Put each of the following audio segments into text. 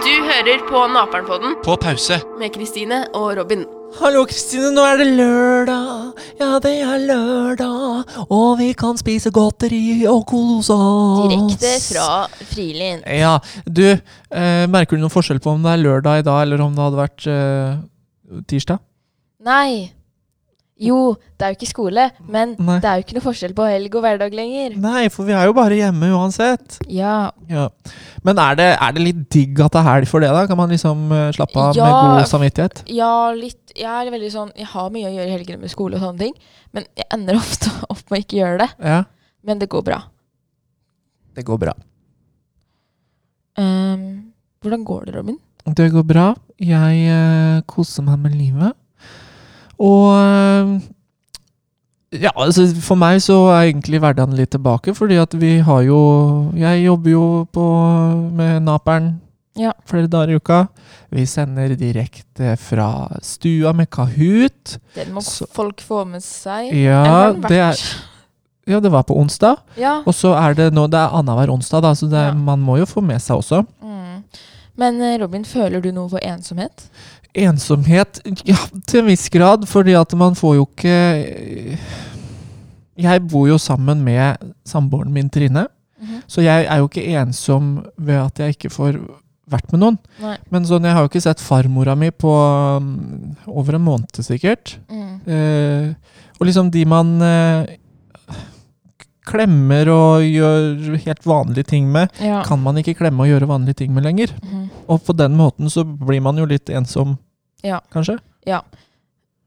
Du hører på Naperen-podden På pause. med Kristine og Robin. Hallo, Kristine. Nå er det lørdag. Ja, det er lørdag. Og vi kan spise godteri og kose oss. Direkte fra Frilin. Ja. Du, eh, merker du noen forskjell på om det er lørdag i dag, eller om det hadde vært eh, tirsdag? Nei. Jo, det er jo ikke skole, men Nei. det er jo ikke noe forskjell på helg og hverdag lenger. Nei, for vi er jo bare hjemme uansett. Ja, Ja. Men er det, er det litt digg at det er helg for det, da? Kan man liksom eh, slappe av Ja. med god samvittighet? ja litt. Jeg er veldig sånn Jeg har mye å gjøre i helgene med skole og sånne ting, men jeg ender ofte opp med å ikke gjøre det. Ja. Men det går bra. Det går bra. Ehm, hvordan går det, Robin? Det går bra. Jeg eh, koser meg med livet. Og eh, ja, altså for meg så er egentlig hverdagen litt tilbake, fordi at vi har jo Jeg jobber jo på, med Naperen Ja. flere dager i uka. Vi sender direkte fra stua med Kahoot. Den må Så- folk få med seg. Ja, Eller har den det, er, vært? ja, det var på onsdag. Ja. Og så er det nå Det er annenhver onsdag, da, så det, Ja. man må jo få med seg også. Mm. Men eh, Robin, føler du noe for ensomhet? Ensomhet Ja, til en viss grad, fordi at man får jo ikke Jeg bor jo sammen med samboeren min Trine, så jeg er jo ikke ensom ved at jeg ikke får vært med noen. Nei. Men sånn, jeg har jo ikke sett farmora mi på mm, over en måned, sikkert. Mm. Eh, og liksom de man eh, klemmer og gjør helt vanlige ting med, Ja. kan man ikke klemme og gjøre vanlige ting med lenger. Mhm. Og på den måten så blir man jo litt ensom, Ja. kanskje?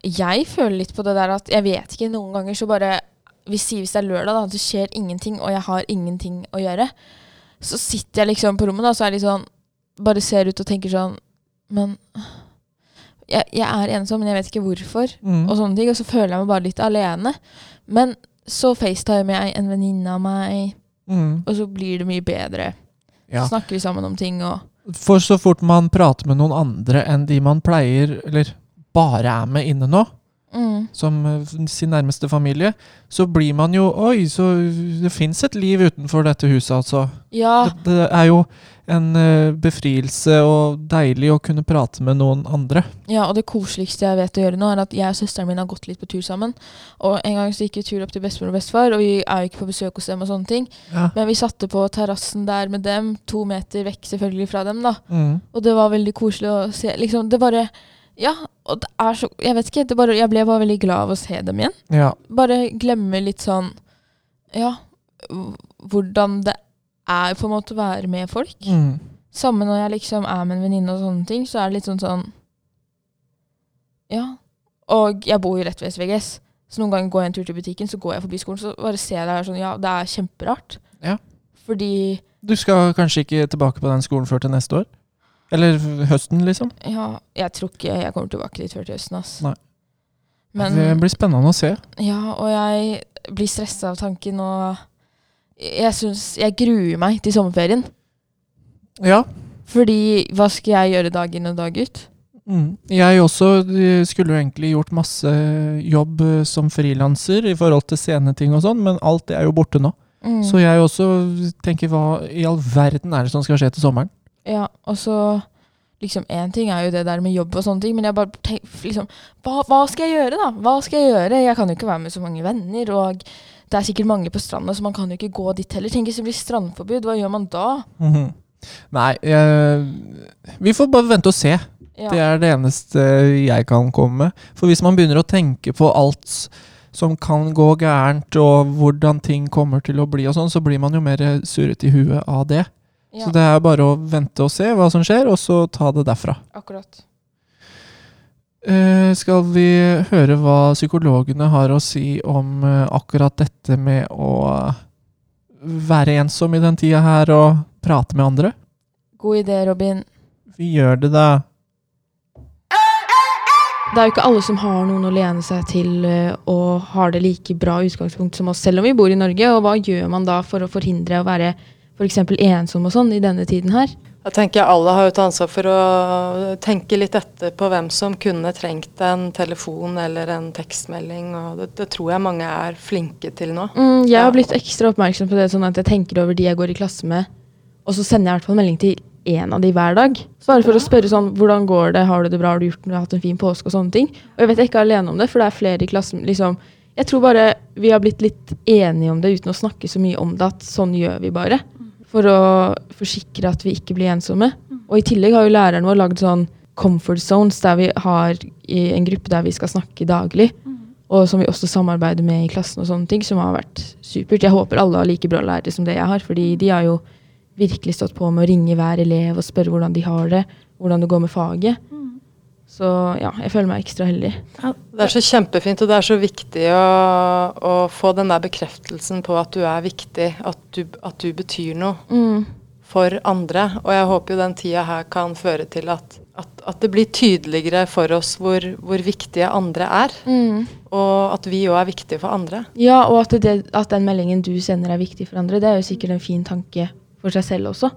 jeg føler litt på det der at jeg vet ikke, noen ganger så bare vi sier hvis det er lørdag, da, at det skjer ingenting, og jeg har ingenting å gjøre. Så sitter jeg liksom på rommet, da, så er jeg litt sånn Bare ser ut og tenker sånn Men jeg, jeg er ensom, men jeg vet ikke hvorfor. Mm. Og sånne ting, og så føler jeg meg bare litt alene. Men så facetimer jeg en venninne av meg, Mm. og så blir det mye bedre. Ja. Så snakker vi sammen om ting og For så fort man prater med noen andre enn de man pleier, eller bare er med inne nå, mm, som eh, sin nærmeste familie, så blir man jo Oi, så det fins et liv utenfor dette huset, altså. Ja. Det, det er jo en eh, befrielse og deilig å kunne prate med noen andre. Ja, og det koseligste jeg vet å gjøre nå, er at jeg og søsteren min har gått litt på tur sammen. Og en gang så gikk vi tur opp til bestemor og bestefar, og vi er jo ikke på besøk hos dem og sånne ting. Ja. Men vi satte på terrassen der med dem, to meter vekk selvfølgelig fra dem, da. Mm. Og det var veldig koselig å se. Liksom, det bare Ja, og det er så Jeg vet ikke, det bare Jeg ble bare veldig glad av å se dem igjen. ja. Bare glemme litt sånn Ja, h- hvordan det er på en måte å være med folk. Mm. Samme når jeg liksom er med en venninne og sånne ting, så er det litt sånn sånn Ja. Og jeg bor jo rett ved SVGS, så noen ganger går jeg en tur til butikken, så går jeg forbi skolen, så bare ser jeg det her sånn Ja, det er kjemperart. Ja. Fordi Du skal kanskje ikke tilbake på den skolen før til neste år? Eller høsten, liksom? Ja, jeg tror ikke jeg kommer tilbake dit før til høsten, ass. Nei. det Men blir spennende å se. Ja, og jeg blir stressa av tanken, og jeg syns Jeg gruer meg til sommerferien. Ja. Fordi hva skal jeg gjøre dag inn og dag ut? Mm. Jeg også eh, skulle jo egentlig gjort masse jobb eh, som frilanser i forhold til sceneting og sånn, men alt det er jo borte nå. Mm. Så jeg også tenker hva i all verden er det som skal skje til sommeren? Ja, og så liksom Én ting er jo det der med jobb og sånne ting, men jeg bare tenk, liksom hva, hva skal jeg gjøre, da? Hva skal jeg gjøre? Jeg kan jo ikke være med så mange venner, og det er sikkert mange på stranda, så man kan jo ikke gå dit heller. Tenk hvis det blir strandforbud, hva gjør man da? Mhm. Nei, eh, vi får bare vente og se. Ja. Det er det eneste jeg kan komme med. For hvis man begynner å tenke på alt s- som kan gå gærent, og hvordan ting kommer til å bli og sånn, så blir man jo mer surret i huet av det. ja, Så det er bare å vente og se hva som skjer, og så ta det derfra. akkurat. Eh, skal vi høre hva psykologene har å si om eh, akkurat dette med å være ensom i den tida her og prate med andre? God idé, Robin. Vi gjør det, da. Det er jo ikke alle som har noen å lene seg til eh, og har det like bra utgangspunkt som oss, selv om vi bor i Norge. Og hva gjør man da for å forhindre å være f.eks. f.eks. ensom og sånn i denne tiden her. Da tenker jeg alle har jo et ansvar for å tenke litt etter på hvem som kunne trengt en telefon eller en tekstmelding, og det, det tror jeg mange er flinke til nå. Mm, jeg Ja. har blitt ekstra oppmerksom på det sånn at jeg tenker over de jeg går i klasse med, og så sender jeg i hvert fall melding til én av de hver dag. Så bare for å spørre sånn, hvordan går det, har du det bra, har du gjort noe, hatt en fin påske og sånne ting. Og jeg vet jeg ikke er alene om det, for det er flere i klassen liksom, Jeg tror bare vi har blitt litt enige om det uten å snakke så mye om det, at sånn gjør vi bare. For å forsikre at vi ikke blir ensomme. Og i tillegg har jo læreren vår lagd sånn comfort zones, der vi har i en gruppe der vi skal snakke daglig og som vi også samarbeider med i klassen, og sånne ting, som har vært supert. Jeg håper alle har like bra lærere som det jeg har, fordi de har jo virkelig stått på med å ringe hver elev og spørre hvordan de har det, hvordan det går med faget. Mm. Så ja, jeg føler meg ekstra heldig. Det er så kjempefint, og det er så viktig å, å få den der bekreftelsen på at du er viktig, at du, at du betyr noe for andre. Og jeg håper jo den tida her kan føre til at, at, at det blir tydeligere for oss hvor, hvor viktige andre er, og at vi òg er viktige for andre. Ja, og at, det, at den meldingen du sender er viktig for andre, det er jo sikkert en fin tanke for seg selv også.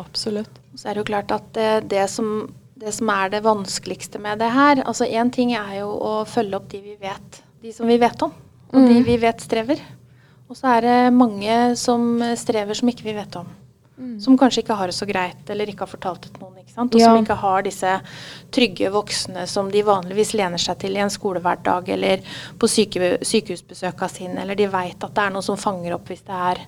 Absolutt. Så er det jo klart at det, det, som, det som er det vanskeligste med det her altså Én ting er jo å følge opp de vi vet, de som vi vet om, og de vi vet strever. Og så er det mange som strever som ikke vi vet om. Som kanskje ikke har det så greit, eller ikke har fortalt det til noen. ikke sant? Og Ja. som ikke har disse trygge voksne som de vanligvis lener seg til i en skolehverdag eller på syke, sykehusbesøka sine, eller de veit at det er noe som fanger opp hvis det, er,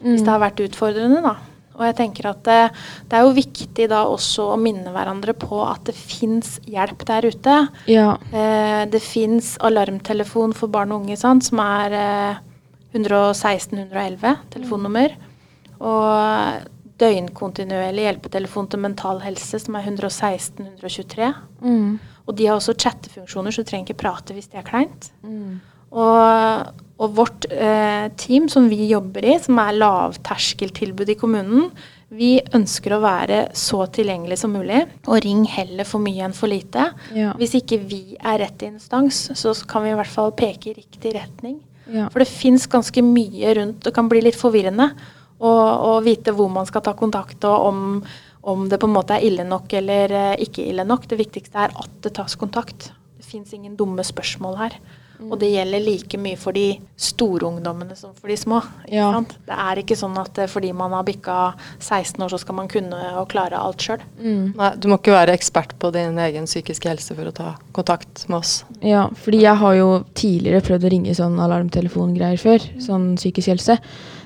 hvis det har vært utfordrende. da. Og jeg tenker at det, det er jo viktig da også å minne hverandre på at det fins hjelp der ute. Ja. Eh, det fins alarmtelefon for barn og unge, sant, som er eh, 116-111, telefonnummer. Og døgnkontinuerlig hjelpetelefon til mental helse, som er 116-123. Mm. Og de har også chattefunksjoner, så du trenger ikke prate hvis det er kleint. Mm. Og, og vårt eh, team som vi jobber i, som er lavterskeltilbud i kommunen, vi ønsker å være så tilgjengelig som mulig. Og ring heller for mye enn for lite. Ja. Hvis ikke vi er rett instans, så kan vi i hvert fall peke i riktig retning. Ja. For det fins ganske mye rundt. Det kan bli litt forvirrende å, å vite hvor man skal ta kontakt, og om, om det på en måte er ille nok eller eh, ikke ille nok. Det viktigste er at det tas kontakt. Det fins ingen dumme spørsmål her. Og det gjelder like mye for de store ungdommene som for de små. Ikke Ja. sant? Det er ikke sånn at eh, fordi man har bikka 16 år, så skal man kunne og klare alt sjøl. Nei, du må ikke være ekspert på din egen psykiske helse for å ta kontakt med oss. Ja, fordi jeg har jo tidligere prøvd å ringe sånn alarmtelefongreier før. Mm. Sånn psykisk helse.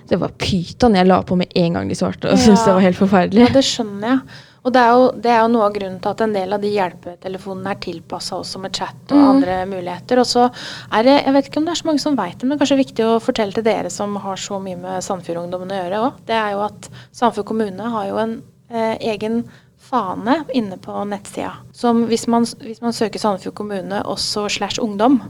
Det var pyton jeg la på med en gang de svarte. Og syntes det var helt forferdelig. Ja, det skjønner jeg. Og det er, jo, det er jo noe av grunnen til at en del av de hjelpetelefonene er tilpassa også med chat og andre muligheter. Og så er det, jeg vet ikke om det er så mange som veit det, men kanskje viktig å fortelle til dere som har så mye med Sandfjord-ungdommen å gjøre òg, det er jo at Sandfjord kommune har jo en eh, egen fane inne på nettsida. Som hvis man, hvis man søker Sandefjord kommune også slash ungdom,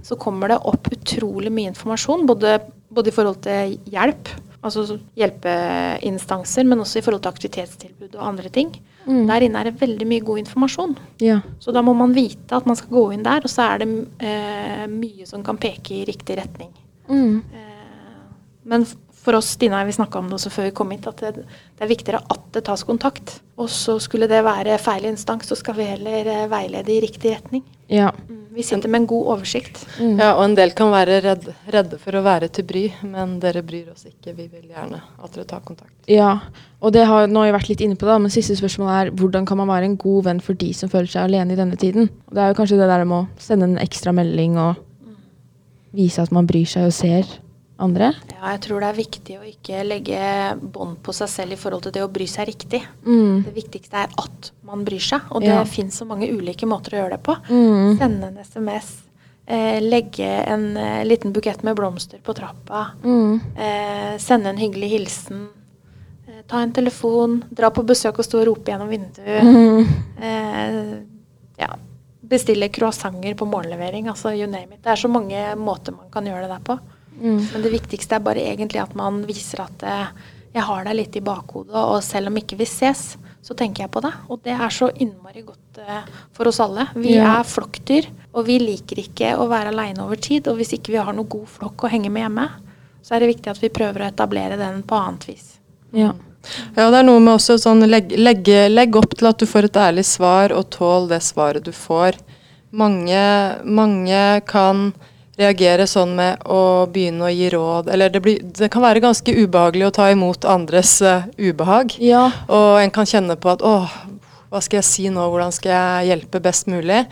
så kommer det opp utrolig mye informasjon. Både, både i forhold til hjelp, altså så- hjelpeinstanser, men også i forhold til aktivitetstilbud og andre ting. Der inne er det veldig mye god informasjon. Ja. Så da må man vite at man skal gå inn der, og så er det eh, mye som kan peke i riktig retning. Eh, men f- for oss, Stina, vi snakka om det også før vi kom hit, at det, det er viktigere at det tas kontakt. Og så skulle det være feil instans, så skal vi heller eh, veilede i riktig retning. Ja. Vi sitter med en god oversikt. Ja, og en del kan være redde, redde for å være til bry, men dere bryr oss ikke. Vi vil gjerne at dere tar kontakt. ja. Og det har, nå har jeg vært litt inne på det, men siste spørsmål er hvordan kan man være en god venn for de som føler seg alene i denne tiden? Og det er jo kanskje det der med å sende en ekstra melding og vise at man bryr seg og ser andre. Ja, jeg tror det er viktig å ikke legge bånd på seg selv i forhold til det å bry seg riktig. Det viktigste er at man bryr seg, og det Mm. Ja. Mm. finnes så mange ulike måter å gjøre det på. Sende en SMS, eh, legge en eh, liten bukett med blomster på trappa, Mm. eh, sende en hyggelig hilsen, eh, ta en telefon, dra på besøk og stå og rope gjennom vinduet. Eh, ja, bestille croissanter på morgenlevering, altså you name it. Det er så mange måter man kan gjøre det der på. Men det viktigste er bare egentlig at man viser at eh, jeg har deg litt i bakhodet, og selv om ikke vi ses, så tenker jeg på deg. Og det er så innmari godt eh, for oss alle. Vi Ja. er flokkdyr, og vi liker ikke å være aleine over tid. Og hvis ikke vi har noe god flokk å henge med hjemme, så er det viktig at vi prøver å etablere den på annet vis. Ja. Ja, det er noe med også sånn legg, legge, legg opp til at du får et ærlig svar, og tål det svaret du får. Mange, mange kan reagere sånn med å begynne å gi råd, eller det, blir, det kan være ganske ubehagelig å ta imot andres eh, ubehag. Ja. Og en kan kjenne på at åh, hva skal jeg si nå, hvordan skal jeg hjelpe best mulig?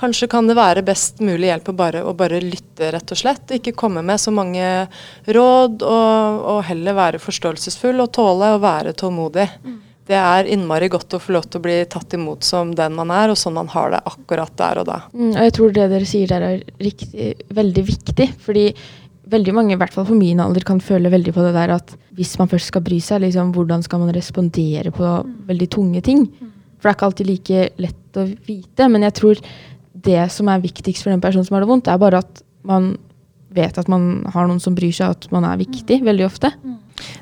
Kanskje kan det være best mulig hjelp å bare, å bare lytte, rett og slett. Ikke komme med så mange råd, og, og heller være forståelsesfull og tåle å være tålmodig. Det er innmari godt å få lov til å bli tatt imot som den man er, og sånn man har det akkurat der og da. Mm, og jeg tror det dere sier der er riktig, veldig viktig. Fordi veldig mange, i hvert fall på min alder, kan føle veldig på det der at hvis man først skal bry seg, liksom, hvordan skal man respondere på veldig tunge ting? For det er ikke alltid like lett å vite. Men jeg tror det som er viktigst for den personen som har det vondt, er bare at man vet at man har noen som bryr seg, at man er viktig veldig ofte.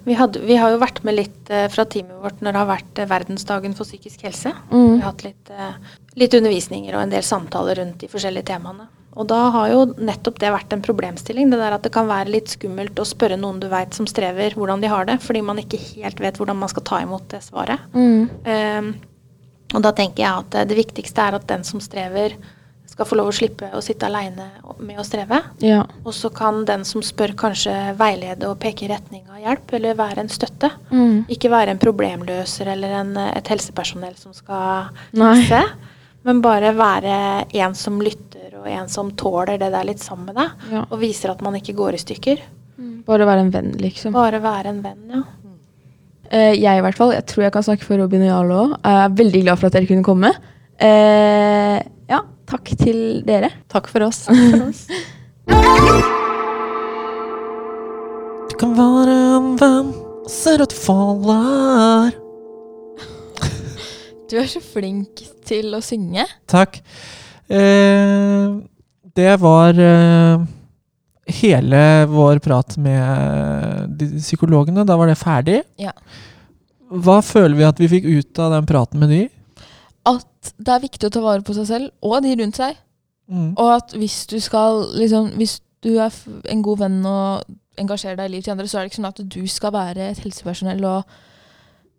Vi, hadde, vi har jo vært med litt eh, fra teamet vårt når det har vært eh, verdensdagen for psykisk helse. Vi har hatt litt, eh, litt undervisninger og en del samtaler rundt de forskjellige temaene. Og da har jo nettopp det vært en problemstilling. Det der at det kan være litt skummelt å spørre noen du veit som strever, hvordan de har det. Fordi man ikke helt vet hvordan man skal ta imot det svaret. Mm. Ehm, og da tenker jeg at eh, det viktigste er at den som strever, skal få lov å slippe å sitte aleine med å streve. Ja. Og så kan den som spør, kanskje veilede og peke i retning av hjelp, eller være en støtte. Mm. Ikke være en problemløser eller en, et helsepersonell som skal Nei. se, men bare være en som lytter, og en som tåler det der litt sammen med deg. Ja. Og viser at man ikke går i stykker. Bare være en venn, liksom. Bare være en venn, ja. Eh, jeg i hvert fall, jeg tror jeg kan snakke for Robin og Jarle òg, er veldig glad for at dere kunne komme. Eh, ja, takk til dere. Takk for oss. Du kan være en venn, ser ut faller. Du er så flink til å synge. Takk. Eh, det var eh, hele vår prat med eh, de psykologene. Da var det ferdig. Ja. Hva føler vi at vi fikk ut av den praten med de? At det er viktig å ta vare på seg selv og de rundt seg. Mm. Og at hvis du skal liksom, Hvis du er f- en god venn og engasjerer deg i livet til andre, så er det ikke sånn at du skal være et helsepersonell og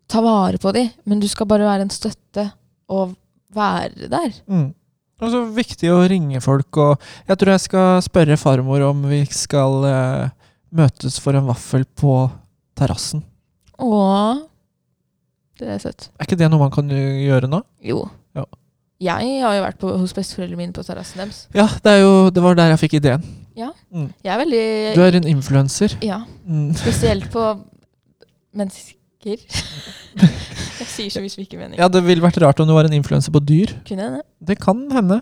ta vare på dem, men du skal bare være en støtte og være der. Mm. Og så viktig å ringe folk. Og jeg tror jeg skal spørre farmor om vi skal eh, møtes for en vaffel på terrassen. Åh. Det er søtt. Er ikke det noe man kan eh, gjøre nå? Jo. Ja. Jeg har jo vært på, hos besteforeldrene mine på terrassen deres. Ja, det, er jo, det var der jeg fikk ideen. Jeg er veldig Du er en influenser. Ja. Mm. Spesielt på mennesker. Jeg sier så mye som ikke mening. Ja, det ville vært rart om du var en influenser på dyr. Kunne jeg det? Det kan hende.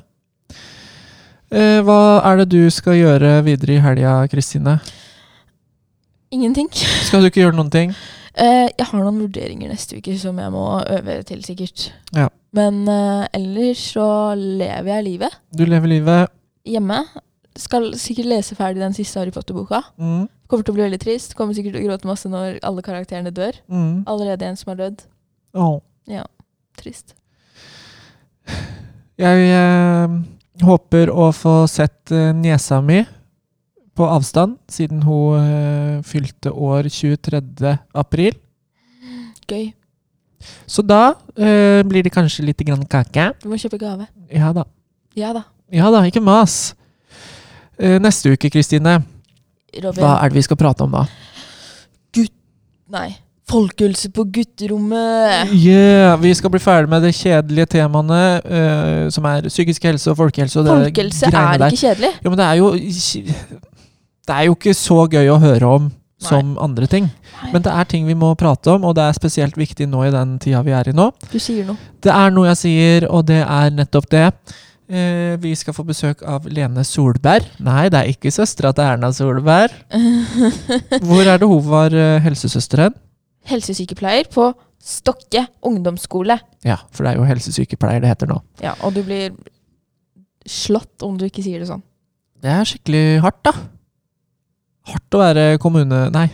Eh, hva er det du skal gjøre videre i helga, Kristine? Ingenting. Skal du ikke gjøre noen ting? Eh, jeg har noen vurderinger neste uke som jeg må øve til, sikkert. Ja. Men eh, ellers så lever jeg livet Du lever livet. hjemme. Skal sikkert lese ferdig den siste Harry Potter-boka. Mm, Kommer til å bli veldig trist. Kommer sikkert til å gråte masse når alle karakterene dør. mm. Allerede en som har dødd. Åh. Trist. Jeg eh, håper å få sett eh, niesa mi på avstand, siden hun eh, fylte år 23. april. Gøy. Så da eh, blir det kanskje litt grann kake. Du må kjøpe gave. Ja da. Ja da. Ja da, ikke mas. Eh, neste uke, Kristine, Robin. hva er det vi skal prate om da? Nei. Folkehelse på gutterommet! Yeah, vi skal bli ferdig med de kjedelige temaene, eh, som er psykisk helse og folkehelse. Og det Folkehelse er greiene ikke kjedelig. der. Jo, men det er jo ikke- Det er jo ikke så gøy å høre om som andre ting. Nei. Men det er ting vi må prate om, og det er spesielt viktig nå i den tida vi er i nå. Du sier noe. Det er noe jeg sier, og det er nettopp det. Eh, vi skal få besøk av Lene Solberg. Nei, det er ikke søstera til Erna Solberg. Hvor er det hun var eh, helsesøsteren? Helsesykepleier på Stokke ungdomsskole. Ja, for det er jo helsesykepleier det heter nå. Ja, og du blir slått om du ikke sier det sånn. Det er skikkelig hardt, da. Hardt å være kommune... Nei,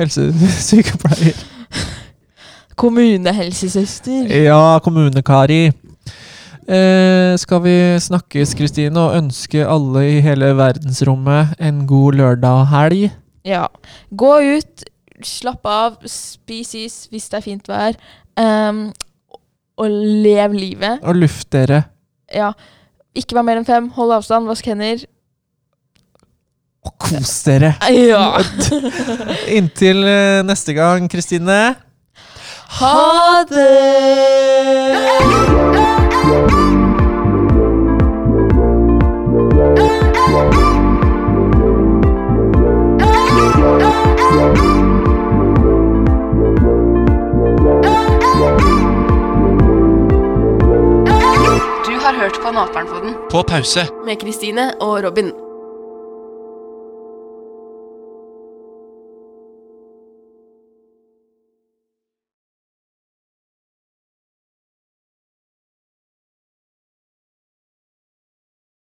helsesykepleier. Kommunehelsesøster. Ja, kommunekari. Eh, skal vi snakkes, Kristine, og ønske alle i hele verdensrommet en god lørdag og helg? Ja. Gå ut, slapp av, spis is hvis det er fint vær, ehm, og lev livet. Og luft dere. Ja. Ikke vær mer enn fem, hold avstand, vask hender. Og kos dere. Ja. Inntil eh, neste gang, Kristine. Ha det! Du har hørt på Naperen-podden På pause. med Kristine og Robin.